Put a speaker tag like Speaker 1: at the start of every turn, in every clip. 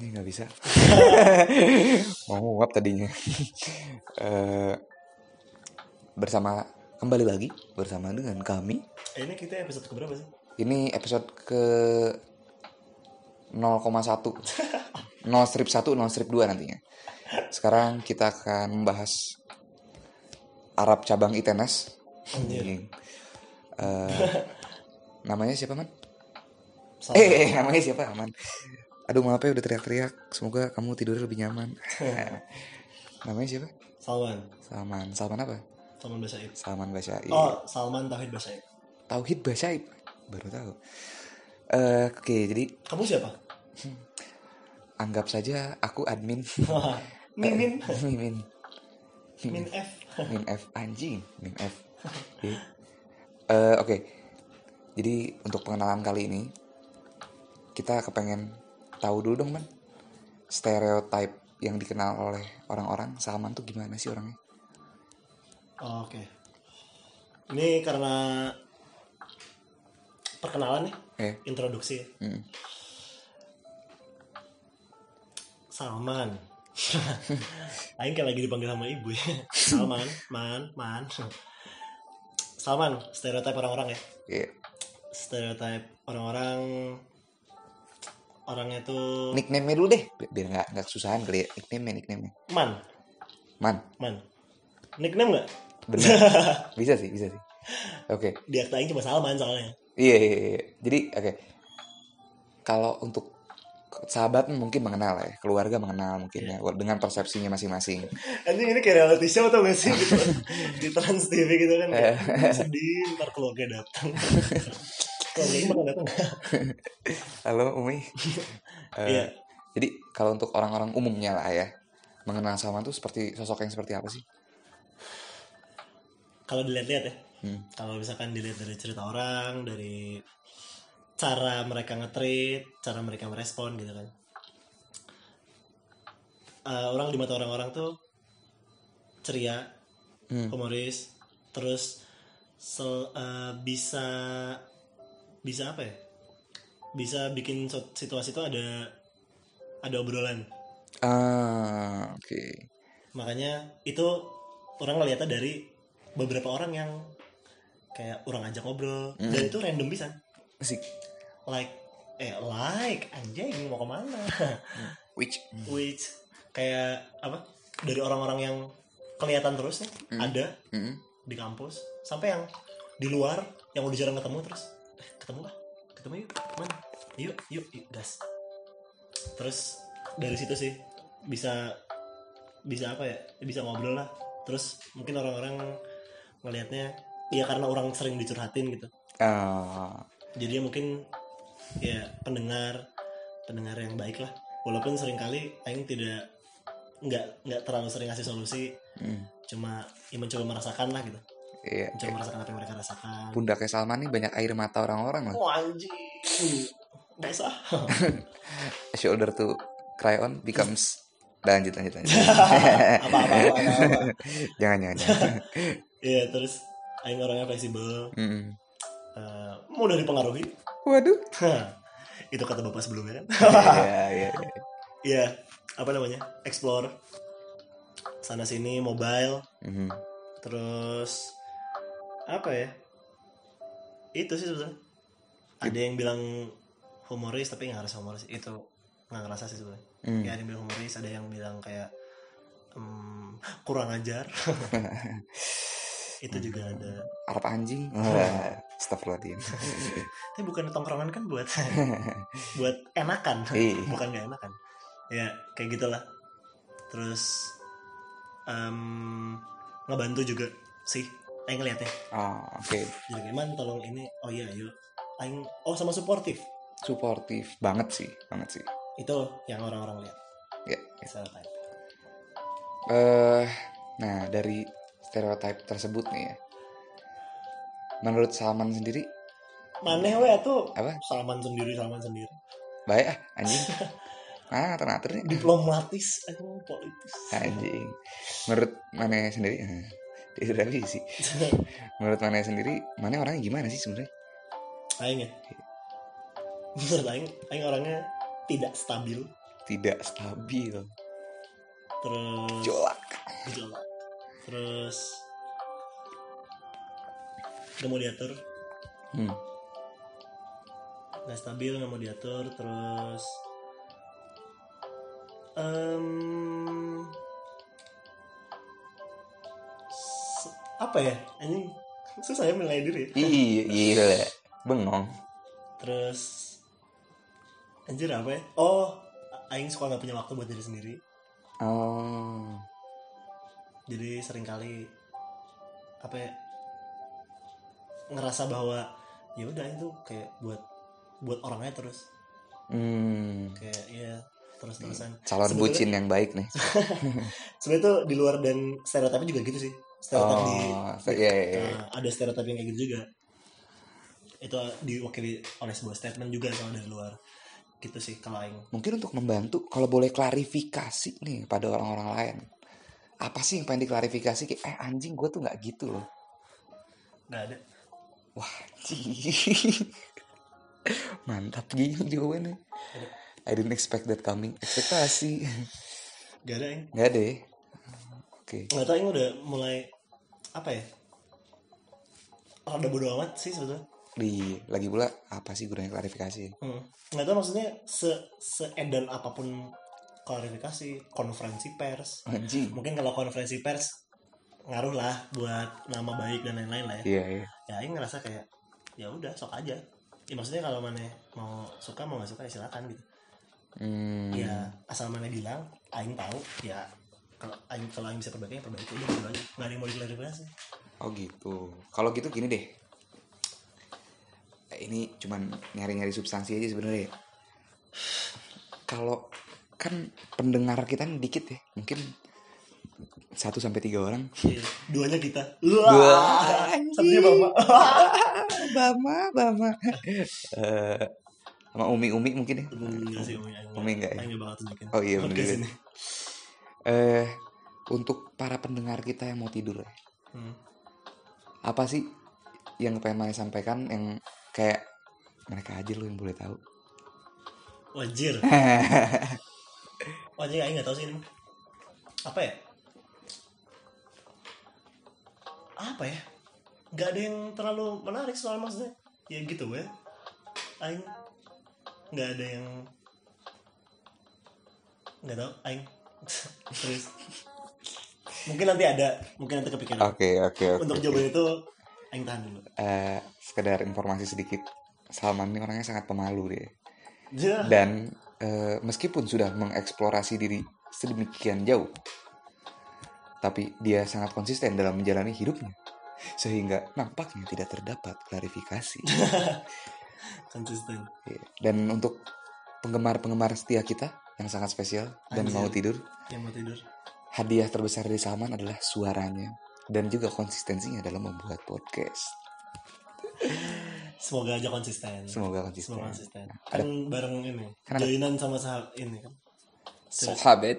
Speaker 1: ini nggak bisa mau nguap tadinya Eh, bersama kembali lagi bersama dengan kami
Speaker 2: Eh, Ini kita episode keberapa sih?
Speaker 1: ini episode ke 0,1 0 strip 1 0 strip 2 nantinya sekarang kita akan membahas Arab cabang ITENAS Anjing. Eh, namanya siapa man?
Speaker 2: Sama.
Speaker 1: Eh, eh, namanya siapa aman? Aduh maaf ya udah teriak-teriak. Semoga kamu tidurnya lebih nyaman. namanya siapa?
Speaker 2: Salman.
Speaker 1: Salman. Salman apa?
Speaker 2: Salman Basaib.
Speaker 1: Salman Basyaib.
Speaker 2: Oh, Salman Tauhid Basaib.
Speaker 1: Tauhid Basyaib. Baru tahu. Eh, Oke, jadi
Speaker 2: Kamu siapa?
Speaker 1: anggap saja aku admin.
Speaker 2: Mimin.
Speaker 1: Mimin.
Speaker 2: Min F.
Speaker 1: Min F anjing, Min F. Oke. Eh, Oke. Jadi untuk pengenalan kali ini kita kepengen tahu dulu dong, Man. Stereotype yang dikenal oleh orang-orang Salman tuh gimana sih orangnya?
Speaker 2: Oh, Oke. Ini karena perkenalan nih,
Speaker 1: Eh,
Speaker 2: introduksi.
Speaker 1: mm.
Speaker 2: Salman. Lain kayak lagi dipanggil sama ibu ya. Salman, man, man. Salman, stereotip orang-orang ya.
Speaker 1: Iya.
Speaker 2: Stereotip orang-orang orangnya tuh
Speaker 1: Nickname-nya dulu deh, bi- biar nggak nggak kesusahan kali ya. Nickname-nya, nickname-nya.
Speaker 2: man,
Speaker 1: Man,
Speaker 2: man. Nickname nggak?
Speaker 1: bener. bisa sih, bisa sih. Oke.
Speaker 2: di akta Aing cuma Salman soalnya
Speaker 1: Iya, iya, iya. Jadi, oke. Kalau untuk sahabat mungkin mengenal ya, keluarga mengenal mungkin ya, dengan persepsinya masing-masing.
Speaker 2: anjing ini kayak reality show tau gak sih gitu di trans TV gitu kan kayak, sedih ntar keluarga datang keluarga ini bakal datang
Speaker 1: Halo Umi. Eh,
Speaker 2: Iya.
Speaker 1: Jadi kalau untuk orang-orang umumnya lah ya, mengenal Salman tuh seperti sosok yang seperti apa sih?
Speaker 2: kalau dilihat-lihat ya
Speaker 1: Hmm.
Speaker 2: kalau misalkan dilihat dari cerita orang dari cara mereka nge-treat cara mereka merespon gitu kan Eh, orang di mata orang-orang tuh ceria
Speaker 1: Hmm.
Speaker 2: humoris terus sel- eh, bisa bisa apa ya bisa bikin so- situasi itu ada ada obrolan
Speaker 1: Ah, oke.
Speaker 2: makanya itu orang ngeliatnya dari beberapa orang yang kayak orang ajak ngobrol dan itu random bisa
Speaker 1: Asik.
Speaker 2: like eh like anjing mau kemana
Speaker 1: Which?
Speaker 2: which kayak apa dari orang-orang yang kelihatan terus nih ada
Speaker 1: Mm-mm.
Speaker 2: di kampus sampai yang di luar yang udah jarang ketemu terus eh, ketemu lah ketemu yuk mana yuk yuk yuk gas terus dari situ sih bisa bisa apa ya bisa ngobrol lah terus mungkin orang-orang ngelihatnya ya karena orang sering dicurhatin gitu
Speaker 1: Ah,
Speaker 2: jadi mungkin ya pendengar pendengar yang baik lah walaupun seringkali Aing tidak nggak nggak terlalu sering ngasih solusi
Speaker 1: mm.
Speaker 2: cuma ya mencoba merasakan lah gitu
Speaker 1: Iya.
Speaker 2: mencoba merasakan apa yang mereka rasakan
Speaker 1: Pundaknya Salman nih banyak air mata orang-orang lah.
Speaker 2: Oh anjing. Nggak sah.
Speaker 1: A Shoulder to cry on becomes. Dan lanjut lanjut lanjut.
Speaker 2: apa apa apa. apa, apa.
Speaker 1: jangan jangan. jangan.
Speaker 2: Iya terus aing orangnya fleksibel,
Speaker 1: Mm-mm.
Speaker 2: eh, mudah dipengaruhi.
Speaker 1: Waduh.
Speaker 2: Hah, Itu kata bapak sebelumnya kan.
Speaker 1: Iya iya.
Speaker 2: Iya, apa namanya? Explore sana sini mobile
Speaker 1: Mhm.
Speaker 2: terus apa ya? Itu sih sebetulnya. Ada yang bilang humoris tapi nggak harus humoris itu nggak ngerasa sih sebetulnya.
Speaker 1: Mm.
Speaker 2: Ya ada yang bilang humoris, ada yang bilang kayak em, kurang ajar. itu juga ada.
Speaker 1: Arab anjing. Wah, Astagfirullahaladzim.
Speaker 2: Tapi bukan tongkrongan kan buat buat enakan,
Speaker 1: Iya.
Speaker 2: bukan gak enakan. Ya kayak gitulah. Terus em, ngebantu juga sih. Aing ngeliatnya.
Speaker 1: Ah, oke.
Speaker 2: Jadi gimana tolong ini. Oh iya ayo. Aing oh sama suportif.
Speaker 1: Suportif banget sih, banget sih.
Speaker 2: Itu yang orang-orang lihat.
Speaker 1: Ya.
Speaker 2: Stereotype.
Speaker 1: Eh, nah dari stereotype tersebut nih ya. Menurut Salman sendiri,
Speaker 2: Maneh weh tuh
Speaker 1: Apa?
Speaker 2: Salman sendiri Salman sendiri.
Speaker 1: baik ah anjing. Ah, ngatur-ngatur nih.
Speaker 2: Diplomatis aduh politis.
Speaker 1: Anjing. Menurut mana sendiri? eh, Dia sudah sih. Menurut mana sendiri, mana orangnya gimana sih sebenarnya?
Speaker 2: Aing ya. Menurut Aing, Aing orangnya tidak stabil.
Speaker 1: tidak stabil
Speaker 2: terus
Speaker 1: colak
Speaker 2: gejolak terus nggak mau diatur
Speaker 1: hmm.
Speaker 2: nggak stabil nggak mau diatur terus em, s- apa ya anjing susah ya menilai diri ya.
Speaker 1: iya gila bengong
Speaker 2: terus anjir apa ya oh a- aing suka nggak punya waktu buat diri sendiri
Speaker 1: oh
Speaker 2: jadi seringkali apa ya ngerasa bahwa ya udah itu kayak buat buat orangnya terus
Speaker 1: hmm.
Speaker 2: kayak ya terus terusan
Speaker 1: calon
Speaker 2: Sebenarnya-
Speaker 1: bucin yang baik nih
Speaker 2: sebenarnya tuh di luar dan stereotipnya juga gitu sih stereotip
Speaker 1: oh
Speaker 2: di
Speaker 1: se- iya, iya, iya.
Speaker 2: Nah, ada stereotip yang kayak gitu juga itu diwakili oleh sebuah statement juga kalau dari luar gitu sih kalau aing
Speaker 1: mungkin untuk membantu kalau boleh klarifikasi nih pada orang-orang lain apa sih yang pengen diklarifikasi kayak eh anjing gue tuh nggak gitu loh
Speaker 2: nggak ada
Speaker 1: wah anjing. mantap gini jawabannya I didn't expect that coming ekspektasi
Speaker 2: nggak ada aing
Speaker 1: nggak deh oke
Speaker 2: nggak tahu aing udah mulai apa ya rada bodo amat sih sebetulnya
Speaker 1: di lagi pula apa sih gunanya klarifikasi
Speaker 2: Hmm. nggak tahu maksudnya se seedan apapun klarifikasi konferensi pers
Speaker 1: anjing
Speaker 2: mungkin kalau konferensi pers ngaruh lah buat nama baik dan lain-lain lah ya
Speaker 1: iya iya
Speaker 2: ya Aing ngerasa kayak ya udah sok aja ya maksudnya kalau mana mau suka mau nggak suka ya silakan gitu
Speaker 1: hmm,
Speaker 2: ya asal mana bilang Aing tahu ya kalau Aing kalau Aing bisa perbaiki ya perbaiki aja gitu aja nggak ada yang mau diklarifikasi
Speaker 1: oh gitu kalau gitu gini deh Eh, ini cuman nyari-nyari substansi aja sebenarnya ya. kalau kan pendengar kita nih dikit ya mungkin satu sampai tiga orang
Speaker 2: Iya. duanya kita
Speaker 1: Dua.
Speaker 2: Wah, ya, satunya bapak
Speaker 1: Bama, Bama. Eh, sama Umi Umi mungkin ya.
Speaker 2: Enggak sih, Umi, Aing
Speaker 1: Umi enggak ya?
Speaker 2: Aing nggak bakal tunjukin
Speaker 1: Oh iya, bener
Speaker 2: podcast
Speaker 1: juga.
Speaker 2: ini
Speaker 1: Eh, untuk para pendengar kita yang mau tidur ya.
Speaker 2: Hmm.
Speaker 1: Apa sih yang pengen Maya sampaikan yang kayak mereka aja lu yang boleh tahu.
Speaker 2: wajir wajir Aing nggak tahu sih ini mah. apa ya apa ya nggak ada yang terlalu menarik soal maksudnya ya gitu ya Aing nggak ada yang nggak tahu Aing terus mungkin nanti ada mungkin nanti kepikiran
Speaker 1: Oke, oke, oke.
Speaker 2: untuk jawaban itu Aing tahan dulu
Speaker 1: Eh, sekedar informasi sedikit. Salman ini orangnya sangat pemalu deh.
Speaker 2: Jah.
Speaker 1: Dan eh, meskipun sudah mengeksplorasi diri sedemikian jauh, tapi dia sangat konsisten dalam menjalani hidupnya. Sehingga nampaknya tidak terdapat klarifikasi.
Speaker 2: konsisten
Speaker 1: Iya. Dan untuk penggemar-penggemar setia kita yang sangat spesial dan
Speaker 2: Anjir.
Speaker 1: mau tidur,
Speaker 2: yang mau tidur
Speaker 1: hadiah terbesar dari Salman adalah suaranya dan juga konsistensinya dalam membuat podcast.
Speaker 2: semoga aja konsisten
Speaker 1: Semoga konsisten.
Speaker 2: Semua konsisten. Kan
Speaker 1: Ada
Speaker 2: bareng ini.
Speaker 1: Kan ada-
Speaker 2: Joinan sama sahab ini kan.
Speaker 1: sahabat.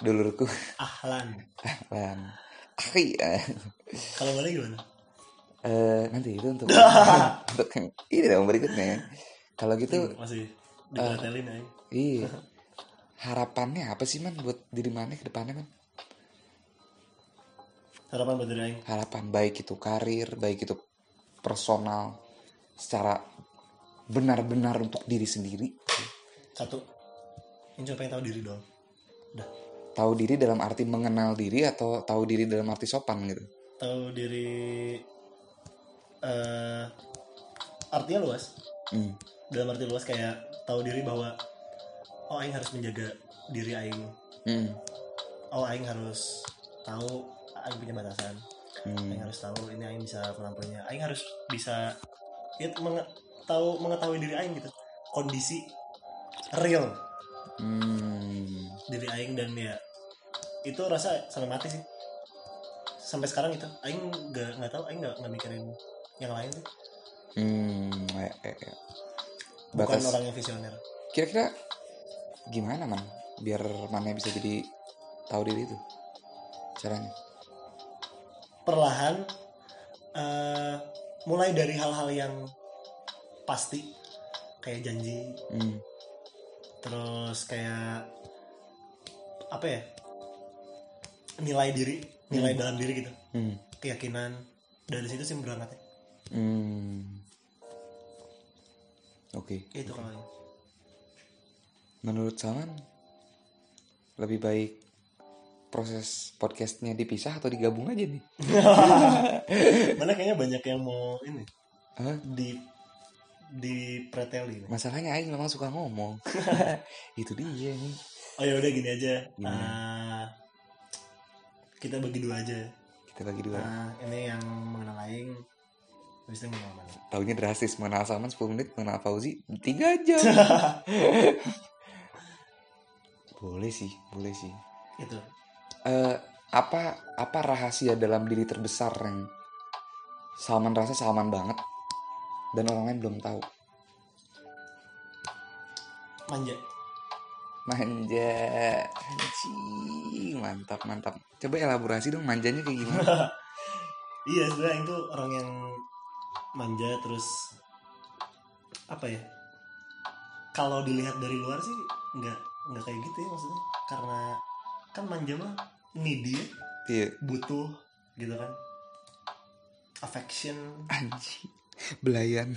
Speaker 1: Dulurku.
Speaker 2: Ahlan.
Speaker 1: Lan. Akhi. Eh,
Speaker 2: Kalau boleh gimana?
Speaker 1: eh, nanti itu untuk untuk yang ini dong berikutnya. Kalau gitu,
Speaker 2: Hmm, masih dipretelin aja.
Speaker 1: iya. Harapannya apa sih man buat diri mana ke depannya man?
Speaker 2: Harapan buat diri aing.
Speaker 1: harapan baik itu karir, baik itu personal secara benar-benar untuk diri sendiri.
Speaker 2: Satu. Ini cuma pengen tahu diri doang. Udah.
Speaker 1: Tahu diri dalam arti mengenal diri atau tahu diri dalam arti sopan gitu.
Speaker 2: Tahu diri eh artinya luas.
Speaker 1: Hmm.
Speaker 2: Dalam arti luas kayak tahu diri bahwa oh aing harus menjaga diri aing.
Speaker 1: Hmm.
Speaker 2: Oh aing harus tahu aing punya batasan.
Speaker 1: Hmm.
Speaker 2: Aing harus tahu ini Aing bisa melampuinya. Aing harus bisa ya, menge- tahu mengetahui diri Aing gitu. Kondisi real
Speaker 1: Hmm.
Speaker 2: diri Aing dan ya itu rasa sampai mati sih. Sampai sekarang itu Aing nggak nggak tahu Aing nggak nggak mikirin yang lain tuh.
Speaker 1: Hmm. Ya, ya, ya.
Speaker 2: Bukan
Speaker 1: Batas.
Speaker 2: orang yang visioner.
Speaker 1: Kira-kira gimana man biar mana bisa jadi tahu diri itu caranya?
Speaker 2: Perlahan eh, mulai dari hal-hal yang pasti kayak janji
Speaker 1: Hmm.
Speaker 2: terus kayak apa ya nilai diri nilai dalam diri gitu
Speaker 1: Hmm.
Speaker 2: keyakinan dari situ sih berangkatnya
Speaker 1: Hmm. Oke.
Speaker 2: itu gitu kalau
Speaker 1: Menurut Salman, lebih baik proses podcastnya dipisah atau digabung aja nih?
Speaker 2: mana kayaknya banyak yang mau ini
Speaker 1: Hah?
Speaker 2: di di pretelin
Speaker 1: Masalahnya Aing memang suka ngomong. Itu dia nih.
Speaker 2: oh ya udah gini aja
Speaker 1: Gimana?
Speaker 2: Ah, kita bagi dua aja
Speaker 1: Kita bagi dua.
Speaker 2: Nah, ini yang mengenal Aing habis itu mengenal mana
Speaker 1: Taunya drastis. Mengenal Salman 10 menit, mengenal Fauzi 3 jam. boleh sih, boleh sih.
Speaker 2: itu
Speaker 1: Eh, apa apa rahasia dalam diri terbesar yang Salman rasa Salman banget dan orang lain belum tahu?
Speaker 2: manja
Speaker 1: Manja, anjing, mantap mantap. Coba elaborasi dong manjanya kayak gimana?
Speaker 2: iya sebenarnya Aing tuh orang yang manja terus apa ya kalau dilihat dari luar sih nggak nggak kayak gitu ya maksudnya karena kan manja mah needy ya.
Speaker 1: Iya,
Speaker 2: butuh gitu kan affection
Speaker 1: anjing, belayan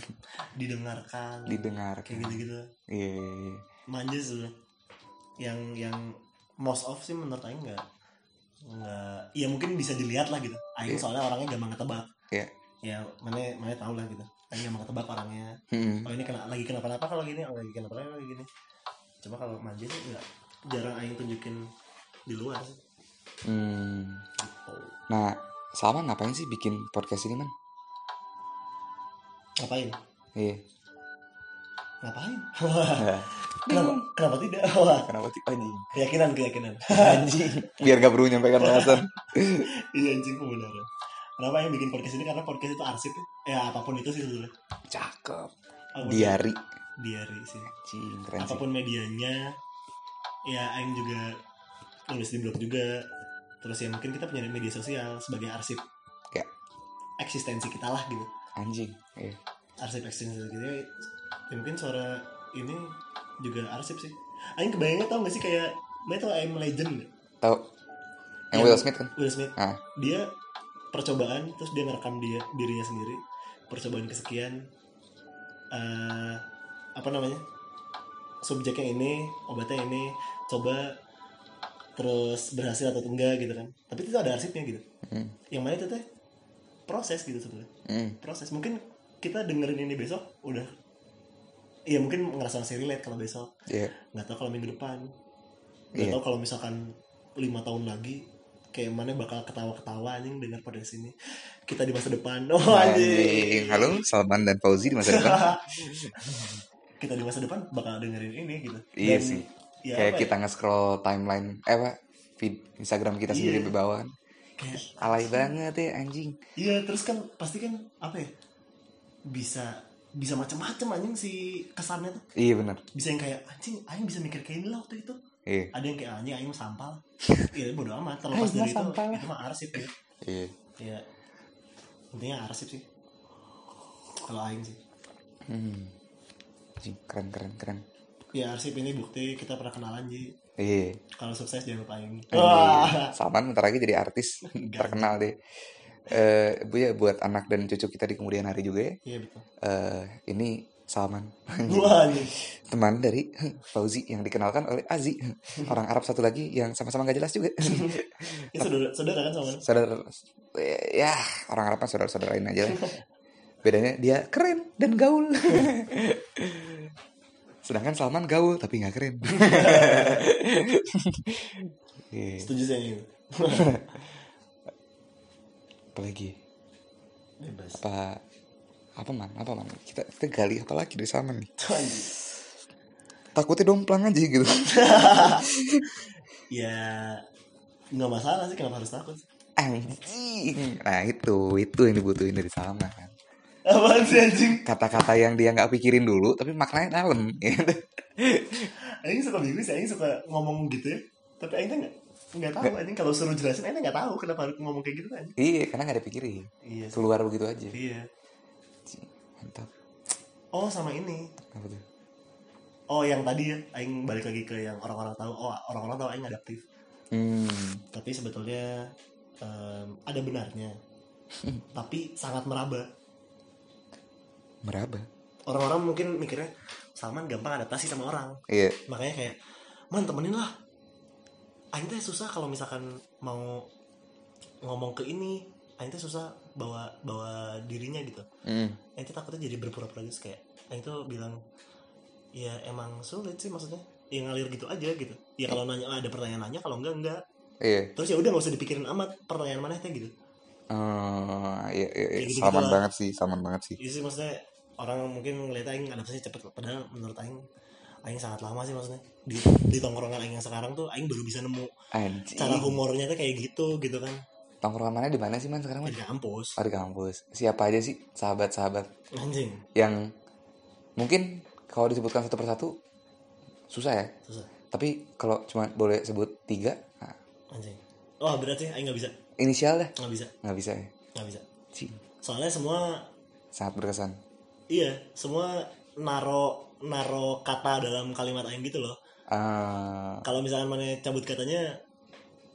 Speaker 2: didengarkan kayak
Speaker 1: didengarkan.
Speaker 2: gitu gitu
Speaker 1: Iya, iya, iya.
Speaker 2: manja sih yang yang most of sih menurut Aing nggak nggak ya mungkin bisa dilihat lah gitu Aing
Speaker 1: Iya.
Speaker 2: soalnya orangnya gampang ketebak
Speaker 1: Iya.
Speaker 2: ya mana mana tau lah gitu Aing gampang ketebak orangnya
Speaker 1: Hmm,
Speaker 2: oh ini kena lagi kenapa-napa kalau gini oh, lagi kenapa-napa kalau gini cuma kalau manja sih nggak jarang Aing tunjukin di luar sih.
Speaker 1: hmm.
Speaker 2: gitu
Speaker 1: Nah, Salman ngapain sih bikin podcast ini man?
Speaker 2: ngapain
Speaker 1: Iya.
Speaker 2: ngapain
Speaker 1: Nah,
Speaker 2: kenapa kenapa tidak Wah,
Speaker 1: Kenapa sih anjing?
Speaker 2: keyakinan keyakinan
Speaker 1: Anjing. Biar gak perlu nyampaikan alasan.
Speaker 2: iya anjing pembenaran kenapa yang bikin podcast ini karena podcast itu arsip ya ya apapun itu sih sebetulnya
Speaker 1: Cakep.
Speaker 2: Apapun
Speaker 1: Diari.
Speaker 2: itu, diari sih
Speaker 1: Anjing, keren sih.
Speaker 2: apapun medianya ya Aing juga nulis di blog juga terus ya mungkin kita punya media sosial sebagai arsip
Speaker 1: Ya.
Speaker 2: eksistensi kita lah gitu
Speaker 1: Anjing. Iya.
Speaker 2: arsip eksistensi gitu ya mungkin suara ini juga arsip sih Aing kebayangnya tau gak sih kayak Mana tau I'm Legend nggak?
Speaker 1: Tahu? Yang
Speaker 2: Yang-
Speaker 1: Will Smith kan?
Speaker 2: Will Smith
Speaker 1: Ah.
Speaker 2: dia percobaan terus dia ngerekam dia dirinya sendiri percobaan kesekian eh apa namanya subjeknya ini obatnya ini coba terus berhasil atau enggak gitu kan tapi itu ada arsipnya gitu
Speaker 1: Hmm.
Speaker 2: yang mana itu teh proses gitu sebenarnya
Speaker 1: Hmm.
Speaker 2: proses mungkin kita dengerin ini besok udah Iya mungkin ngerasa masih relate kalau besok
Speaker 1: Iya.
Speaker 2: nggak tahu kalau minggu depan nggak
Speaker 1: Iya.
Speaker 2: tahu kalau misalkan lima tahun lagi kayak mana bakal ketawa-ketawa anjing dengar pada sini kita di masa depan oh
Speaker 1: Anjing.
Speaker 2: anjing
Speaker 1: Halo, Salman dan Fauzi di masa depan.
Speaker 2: kita di masa depan bakal dengerin ini gitu
Speaker 1: Iya
Speaker 2: Dan,
Speaker 1: sih.
Speaker 2: ya
Speaker 1: Kayak
Speaker 2: apa ya,
Speaker 1: kita nge-scroll timeline eh apa? Feed Instagram kita
Speaker 2: Iya.
Speaker 1: sendiri di bawah. kan.
Speaker 2: kayak-
Speaker 1: Alay banget ya anjing.
Speaker 2: iya terus kan pasti kan apa ya bisa bisa macam-macam anjing si kesannya tuh
Speaker 1: Iya bener
Speaker 2: bisa yang kayak anjing anjing bisa mikir kayak ini lah waktu itu
Speaker 1: Iya.
Speaker 2: ada yang kayak anjing anjing mah sampah lah iya bodo amat terlepas
Speaker 1: Anjing mah
Speaker 2: dari itu
Speaker 1: sampah lah.
Speaker 2: itu mah arsip ya
Speaker 1: Iya.
Speaker 2: Iya. Intinya arsip sih. Kalau aing sih.
Speaker 1: Hmm. Anjing, keren keren keren.
Speaker 2: Ya arsip ini bukti kita pernah kenalan Ji.
Speaker 1: Iya.
Speaker 2: Kalau sukses jangan lupa aing.
Speaker 1: Wah.
Speaker 2: Wah.
Speaker 1: Iya. Salman bentar lagi jadi artis terkenal deh. Eh, Bu ya buat anak dan cucu kita di kemudian hari juga ya.
Speaker 2: Iya betul.
Speaker 1: Eh, ini Salman,
Speaker 2: Wah anjing.
Speaker 1: teman dari Fauzi yang dikenalkan oleh Azi, orang Arab satu lagi yang sama-sama gak jelas juga.
Speaker 2: Ya saudara, saudara kan sama.
Speaker 1: Saudara eh, ya, orang Arab mah saudara-saudarain aja lah. Bedanya dia keren dan gaul. Sedangkan Salman gaul tapi nggak keren. Iya.
Speaker 2: Setuju sih yang ini.
Speaker 1: Apalagi
Speaker 2: Bebas.
Speaker 1: apa apa man apa man kita kita gali apa lagi dari Salman nih
Speaker 2: Tuh, anjing.
Speaker 1: takutnya domplang aja gitu
Speaker 2: Ya nggak masalah sih kenapa harus takut sih.
Speaker 1: anjing nah itu itu yang dibutuhin dari Salman kan.
Speaker 2: Apaan sih anjing?
Speaker 1: kata-kata yang dia nggak pikirin dulu tapi maknanya dalam gitu.
Speaker 2: Aing suka bingung sih, aing suka ngomong gitu ya. Tapi aing tuh nggak nggak tahu anjing kalau suruh jelasin aing tuh nggak tahu kenapa harus ngomong kayak gitu tuh, anjing.
Speaker 1: iya karena nggak dipikirin
Speaker 2: Iya. sih.
Speaker 1: keluar begitu aja
Speaker 2: Iya.
Speaker 1: Anjing, mantap
Speaker 2: Oh sama ini
Speaker 1: apa tuh
Speaker 2: oh yang tadi ya aing balik lagi ke yang orang-orang tahu oh orang-orang tahu aing adaptif
Speaker 1: Hmm.
Speaker 2: tapi sebetulnya em, ada benarnya tapi sangat meraba
Speaker 1: Meraba.
Speaker 2: orang-orang mungkin mikirnya Salman gampang adaptasi sama orang
Speaker 1: Iya.
Speaker 2: makanya kayak man temenin lah Aing teh susah kalau misalkan mau ngomong ke ini Aing teh susah bawa bawa dirinya gitu
Speaker 1: Mm.
Speaker 2: Aing teh takutnya jadi berpura-pura gitu kayak Aing tuh bilang ya emang sulit sih maksudnya ya ngalir gitu aja gitu ya kalau nanya ada pertanyaan nanya kalau enggak enggak
Speaker 1: Iya.
Speaker 2: terus ya udah nggak usah dipikirin amat pertanyaan mana teh gitu
Speaker 1: Eh, iya, iya, iya.
Speaker 2: Kayak gitu-gitu
Speaker 1: Salman
Speaker 2: lah.
Speaker 1: banget sih, Salman banget sih.
Speaker 2: itu Iya sih maksudnya orang mungkin ngeliat Aing adaptasi cepet padahal menurut Aing Aing sangat lama sih maksudnya di, di tongkrongan Aing yang sekarang tuh Aing baru bisa nemu
Speaker 1: Anjing.
Speaker 2: cara humornya tuh kayak gitu gitu kan
Speaker 1: Tongkrongan mana di mana sih man sekarang man?
Speaker 2: di kampus
Speaker 1: Oh, di kampus. Siapa aja sih sahabat-sahabat
Speaker 2: anjing
Speaker 1: yang mungkin kalau disebutkan satu persatu susah ya.
Speaker 2: susah
Speaker 1: Tapi kalau cuma boleh sebut tiga, nah,
Speaker 2: anjing oh berarti Aing nggak bisa
Speaker 1: inisial dah
Speaker 2: nggak bisa
Speaker 1: nggak bisa ya.
Speaker 2: nggak bisa
Speaker 1: Cing.
Speaker 2: soalnya semua
Speaker 1: Sangat berkesan.
Speaker 2: iya semua naro naro kata dalam kalimat Aing gitu loh
Speaker 1: Ah,
Speaker 2: kalau misalkan mana cabut katanya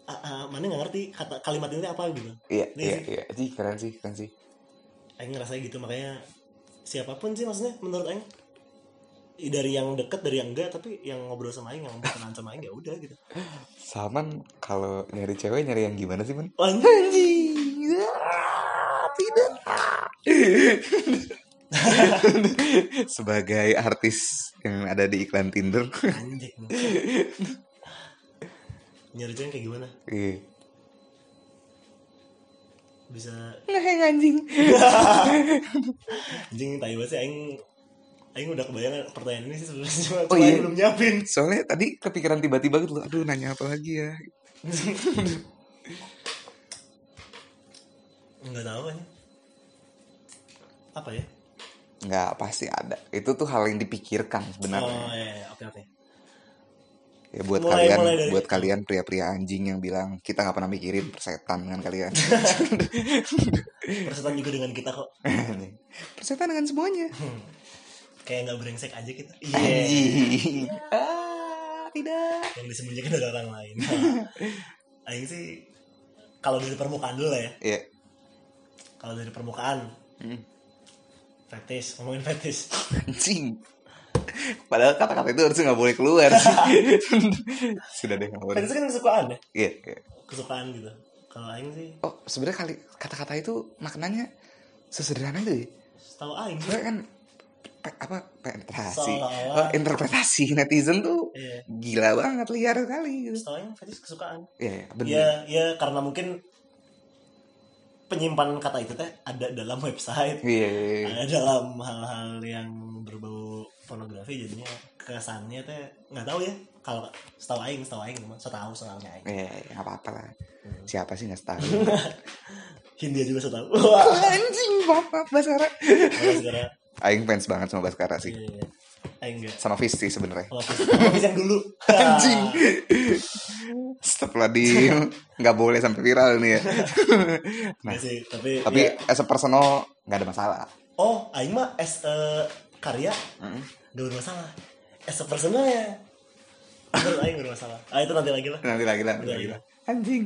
Speaker 2: ah, ah, mana nggak ngerti kata kalimat ini apa gitu
Speaker 1: iya,
Speaker 2: Ini
Speaker 1: iya,
Speaker 2: sih.
Speaker 1: iya. Cing, keren sih, keren sih.
Speaker 2: Aing ngerasa gitu makanya siapapun sih maksudnya menurut Aing dari yang deket dari yang enggak tapi yang ngobrol sama Aing yang berkenalan sama Aing ya udah gitu
Speaker 1: Salman kalau nyari cewek nyari yang gimana sih man?
Speaker 2: Anjing.
Speaker 1: Anjing. Ah, Tidak. Ah. Sebagai artis yang ada di iklan Tinder.
Speaker 2: anjing nyari cewek kayak gimana
Speaker 1: Iya.
Speaker 2: bisa
Speaker 1: Ngeheng anjing.
Speaker 2: anjing tai banget sih Aing Aing udah kebayang pertanyaan ini sih sebenarnya cuma
Speaker 1: Oh
Speaker 2: cuma Aing
Speaker 1: iya.
Speaker 2: belum nyiapin
Speaker 1: Soalnya tadi kepikiran tiba-tiba gitu loh. Aduh nanya apa lagi ya.
Speaker 2: nggak tahu kan apa ya
Speaker 1: Nggak pasti ada. Itu tuh hal yang dipikirkan
Speaker 2: oh
Speaker 1: sebenarnya.
Speaker 2: iya iya, oke oke
Speaker 1: Ya buat
Speaker 2: Mulai-
Speaker 1: kalian
Speaker 2: mulai dari-
Speaker 1: buat kalian pria-pria anjing yang bilang kita nggak pernah mikirin persetan dengan kalian.
Speaker 2: persetan juga dengan kita kok
Speaker 1: persetan dengan semuanya.
Speaker 2: kayak nggak brengsek aja kita iya
Speaker 1: Anjing. Ah, tidak.
Speaker 2: yang disembunyikan dari orang lain Aing sih kalau dari permukaan dulu lah ya
Speaker 1: Iya.
Speaker 2: kalau dari permukaan
Speaker 1: Hmm.
Speaker 2: fetis ngomongin fetis
Speaker 1: Anjing. Padahal kata-kata itu harusnya nggak boleh keluar sih. Sudah deh nggak boleh.
Speaker 2: fetis kan kesukaan ya
Speaker 1: Iya. iya.
Speaker 2: kesukaan gitu kalau Aing sih
Speaker 1: Oh sebenarnya kali kata-kata itu maknanya sesederhana itu ya.
Speaker 2: setahu ah, Aing
Speaker 1: Soalnya kan pe- apa penetrasi,
Speaker 2: Seolah-olah.
Speaker 1: Oh, interpretasi netizen tuh
Speaker 2: Iya.
Speaker 1: gila banget liar sekali gitu.
Speaker 2: setahu Aing fetis kesukaan
Speaker 1: Iya, iya, bener.
Speaker 2: ya ya karena mungkin penyimpanan kata itu teh ada dalam website
Speaker 1: Iya, iya, iya.
Speaker 2: ada dalam hal-hal yang berbau pornografi jadinya kesannya teh nggak tahu ya kalau setahu Aing setahu Aing cuma setahu soalnya Aing
Speaker 1: Iya, iya, nggak apa-apa lah.
Speaker 2: Hmm.
Speaker 1: Siapa sih nggak tahu?
Speaker 2: Hindia juga setahu Wah,
Speaker 1: Anjing, bapak Baskara.
Speaker 2: segera
Speaker 1: Aing fans banget sama Baskara sih.
Speaker 2: Iya, iya. Aing enggak.
Speaker 1: Sama Fis sih sebenarnya.
Speaker 2: Kalau Fis- kalau Fis yang dulu.
Speaker 1: Anjing. Setelah di nggak boleh sampai viral nih ya.
Speaker 2: Enggak Iya sih, tapi
Speaker 1: Tapi
Speaker 2: ya.
Speaker 1: as a personal nggak ada masalah.
Speaker 2: oh, aing mah as a karya
Speaker 1: Mm.
Speaker 2: gak bermasalah. As a personal ya. Menurut aing bermasalah. Ah itu nanti lagi lah.
Speaker 1: Nanti lagi lah, nanti
Speaker 2: Iya,
Speaker 1: lagi
Speaker 2: iya.
Speaker 1: lah. Anjing.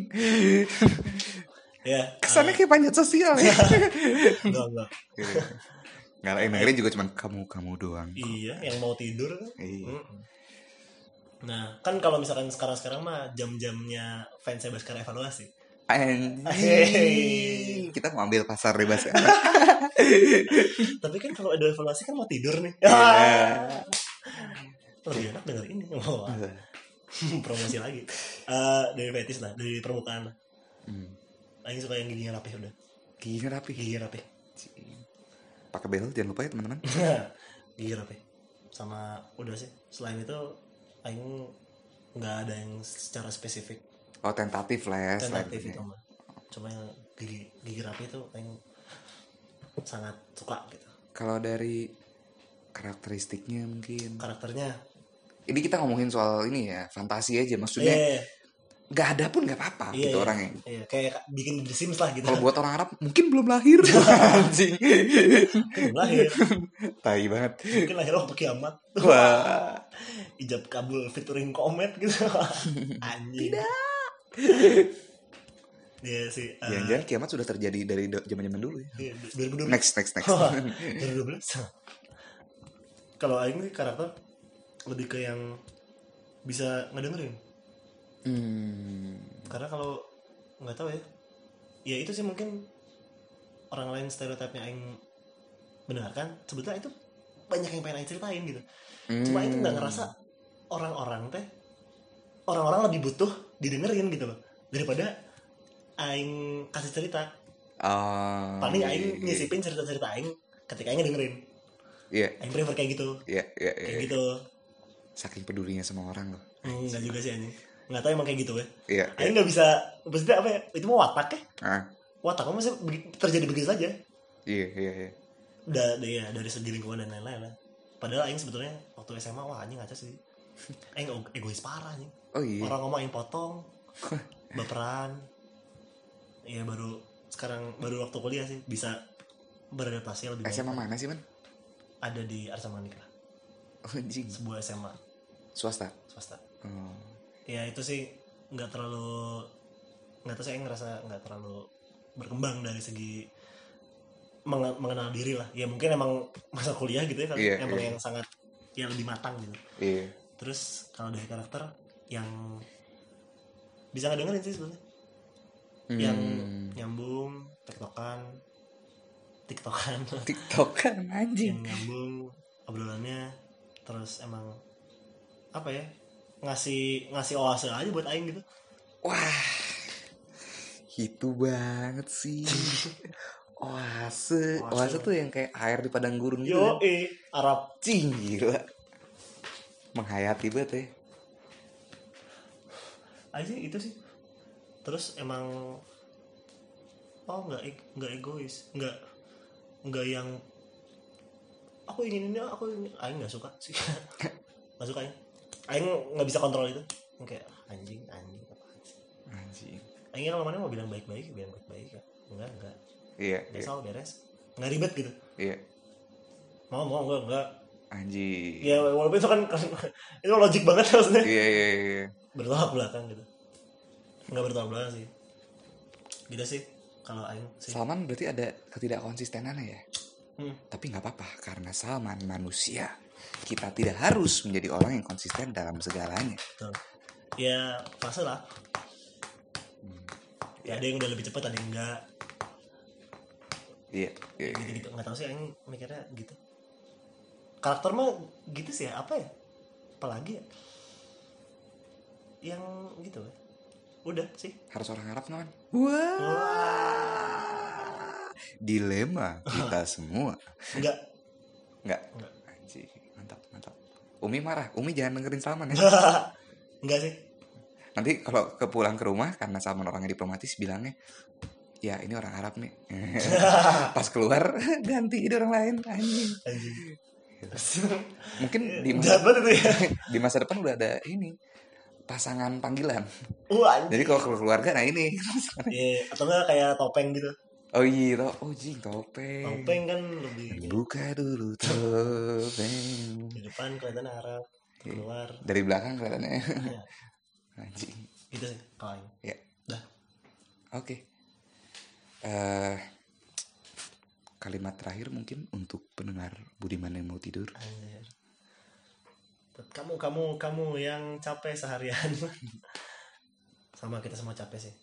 Speaker 2: Ya.
Speaker 1: Kesannya kayak panjat sosial ya.
Speaker 2: ah, enggak, enggak.
Speaker 1: Gitu. Nggak lah, yang dengerin juga cuman kamu-kamu doang.
Speaker 2: Iya, yang mau tidur kan.
Speaker 1: Iya.
Speaker 2: Mm-mm. Nah, kan kalau misalkan sekarang-sekarang mah jam-jamnya fans saya Baskar evaluasi. Hey.
Speaker 1: Anjing. Kita mau ambil pasar deh, ya. Bas.
Speaker 2: Tapi kan kalau ada evaluasi kan mau tidur nih.
Speaker 1: Iya.
Speaker 2: Lebih enak denger ini. Wah. promosi lagi Eh, dari fetis lah dari permukaan lah
Speaker 1: Hmm.
Speaker 2: Aing suka yang giginya rapih udah
Speaker 1: Gini rapi.
Speaker 2: giginya rapih
Speaker 1: Pakai bel jangan lupa ya, teman-teman.
Speaker 2: gigi rapih Iya. sama udah sih selain itu Aing nggak ada yang secara spesifik
Speaker 1: Oh, tentatif lah ya.
Speaker 2: tentatif
Speaker 1: selain-
Speaker 2: itu mah cuma yang gigi gigi rapih itu Aing sangat suka gitu
Speaker 1: Kalau dari karakteristiknya mungkin.
Speaker 2: karakternya
Speaker 1: Ini kita ngomongin soal ini ya, fantasi aja. Maksudnya
Speaker 2: eh
Speaker 1: nggak ada pun nggak apa-apa
Speaker 2: Iya,
Speaker 1: gitu Oh,
Speaker 2: iya.
Speaker 1: orangnya
Speaker 2: Iya, kayak bikin The Sims lah gitu.
Speaker 1: kalau buat orang Arab mungkin belum lahir anjing
Speaker 2: Belum lahir,
Speaker 1: tai banget
Speaker 2: mungkin lahir waktu kiamat.
Speaker 1: wah
Speaker 2: Ijab kabul featuring komet gitu. Anjing. Tidak. Iya sih. eh,
Speaker 1: jangan jangan kiamat sudah terjadi dari do- zaman-zaman dulu ya
Speaker 2: iya, 2012.
Speaker 1: next next next
Speaker 2: Wah, 2012. Kalau Aing sih karakter lebih ke yang bisa ngedengerin.
Speaker 1: hmm,
Speaker 2: Karena kalau nggak tahu ya, ya itu sih mungkin orang lain stereotipnya Aing benarkan. Sebetulnya itu banyak yang pengen Aing ceritain gitu. Cuma Aing tuh
Speaker 1: Hmm.
Speaker 2: nggak ngerasa orang-orang teh orang-orang lebih butuh didengerin gitu loh daripada Aing kasih cerita.
Speaker 1: Ah,
Speaker 2: Paling
Speaker 1: iya,
Speaker 2: Aing
Speaker 1: iya,
Speaker 2: nyisipin cerita-cerita Aing ketika Aing dengerin.
Speaker 1: iya
Speaker 2: Aing prefer kayak gitu.
Speaker 1: iya iya
Speaker 2: kayak
Speaker 1: iya.
Speaker 2: gitu
Speaker 1: saking pedulinya sama orang loh
Speaker 2: enggak juga sih anjing nggak tahu emang kayak gitu ya
Speaker 1: iya iya.
Speaker 2: Aing nggak bisa maksudnya apa ya itu mau watak ya
Speaker 1: ah
Speaker 2: watak kamu maksudnya begi- terjadi begitu saja
Speaker 1: iya iya iya
Speaker 2: da, da- ya, dari segi lingkungan dan lain-lain lah padahal Aing sebetulnya waktu SMA wah anjing ngaca sih Aing ego- egois parah anjing
Speaker 1: oh iya
Speaker 2: orang ngomong Aing potong baperan ya baru sekarang baru waktu kuliah sih bisa beradaptasi lebih baik.
Speaker 1: SMA mana sih man
Speaker 2: ada di Arsa Manik lah
Speaker 1: oh, anjing
Speaker 2: sebuah SMA
Speaker 1: swasta
Speaker 2: swasta
Speaker 1: oh.
Speaker 2: ya itu sih nggak terlalu nggak tahu saya ngerasa nggak terlalu berkembang dari segi menge- mengenal diri lah ya mungkin emang masa kuliah gitu ya kan
Speaker 1: Iya,
Speaker 2: emang
Speaker 1: iya.
Speaker 2: yang sangat yang lebih matang gitu
Speaker 1: iya
Speaker 2: terus kalau dari karakter yang bisa nggak dengerin sih sebenarnya yang
Speaker 1: Hmm.
Speaker 2: nyambung tiktokan tiktokan
Speaker 1: TikTok kan
Speaker 2: yang
Speaker 1: anjing
Speaker 2: nyambung obrolannya terus emang apa ya ngasih ngasih oase aja buat aing gitu
Speaker 1: wah itu banget sih oase
Speaker 2: Oase.
Speaker 1: oase tuh yang kayak air di padang gurun gitu
Speaker 2: Yo
Speaker 1: kan?
Speaker 2: eh Arab
Speaker 1: Cing, gila menghayati banget ya
Speaker 2: aja itu sih. Terus emang oh nggak eg- nggak egois, nggak nggak yang aku ingin ini aku ingin aing nggak suka sih nggak suka aing aing nggak bisa kontrol itu Yang kayak anjing anjing apaan
Speaker 1: anjing
Speaker 2: sih? aing kalau mana mau bilang baik baik bilang baik baik ya enggak enggak
Speaker 1: iya iya
Speaker 2: biasa lah, beres nggak ribet gitu
Speaker 1: iya
Speaker 2: mau mau enggak enggak
Speaker 1: anjing
Speaker 2: ya walaupun itu kan itu logik banget maksudnya
Speaker 1: iya iya iya
Speaker 2: bertolak belakang gitu nggak bertolak belakang sih gitu sih kalau Aing sih
Speaker 1: Salman berarti ada ketidakkonsistenannya ya
Speaker 2: Hmm.
Speaker 1: tapi nggak apa-apa karena Salman manusia kita tidak harus menjadi orang yang konsisten dalam segalanya
Speaker 2: betul ya fase lah ya ada yang udah lebih cepat ada yang enggak
Speaker 1: iya iya
Speaker 2: gitu gitu nggak tahu sih Aing mikirnya gitu karakter mah gitu sih ya apa ya apalagi ya yang gitu ya udah sih
Speaker 1: harus orang Arab kan wah dilema kita semua
Speaker 2: enggak
Speaker 1: nggak
Speaker 2: Nggak.
Speaker 1: anjing mantap mantap Umi marah Umi jangan dengerin Salman ya
Speaker 2: enggak sih
Speaker 1: nanti kalau ke pulang ke rumah karena Salman orangnya diplomatis bilangnya ya ini orang Arab nih pas keluar ganti ini orang lain anjing
Speaker 2: anjing
Speaker 1: mungkin di masa
Speaker 2: jahat banget itu ya
Speaker 1: di masa depan udah ada ini pasangan panggilan
Speaker 2: uh anjing
Speaker 1: jadi kalau keluar- keluarga nah ini
Speaker 2: Iya, atau enggak kayak topeng gitu
Speaker 1: oh iya toh oh jing topeng
Speaker 2: topeng kan lebih
Speaker 1: buka dulu topeng
Speaker 2: di depan kelihatan Arab keluar
Speaker 1: dari belakang kelihatannya
Speaker 2: Ya,
Speaker 1: anjing
Speaker 2: gitu sih kalau Aing.
Speaker 1: ya
Speaker 2: dah
Speaker 1: oke eh kalimat terakhir mungkin untuk pendengar Budiman yang mau tidur
Speaker 2: anjir Buat kamu kamu kamu yang capek seharian sama kita semua capek sih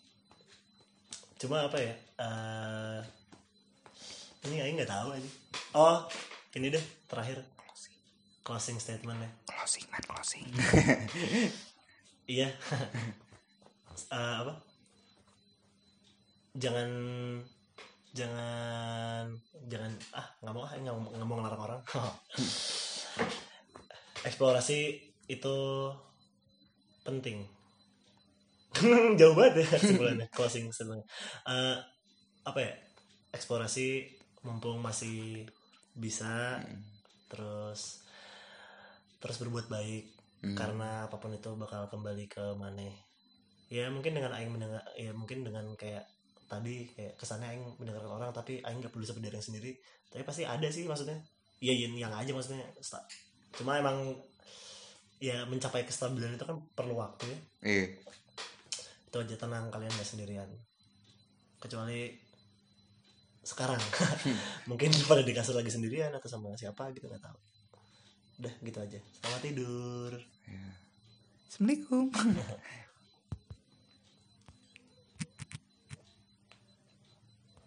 Speaker 2: cuma apa ya eh, ini Aing nggak tahu aja oh ini deh terakhir closing statementnya
Speaker 1: closing man closing
Speaker 2: Iya. Eh, apa? Jangan jangan jangan ah nggak mau ah nggak mau nggak mau ngelarang orang. Eksplorasi itu penting. Jauh banget ya kesimpulannya closing sebenarnya. Eh, apa ya? Eksplorasi mumpung masih bisa terus terus berbuat baik
Speaker 1: Hmm.
Speaker 2: karena apapun itu bakal kembali ke Mane ya mungkin dengan aing mendengar ya mungkin dengan kayak tadi kayak kesannya aing mendengarkan orang tapi aing gak perlu sampai dari yang sendiri tapi pasti ada sih maksudnya ya yang yang aja maksudnya sta- cuma emang ya mencapai kestabilan itu kan perlu waktu ya
Speaker 1: Iya.
Speaker 2: itu aja tenang kalian gak sendirian kecuali sekarang mungkin pada di kasur lagi sendirian atau sama siapa gitu nggak tahu udah gitu aja selamat tidur
Speaker 1: Assalamualaikum.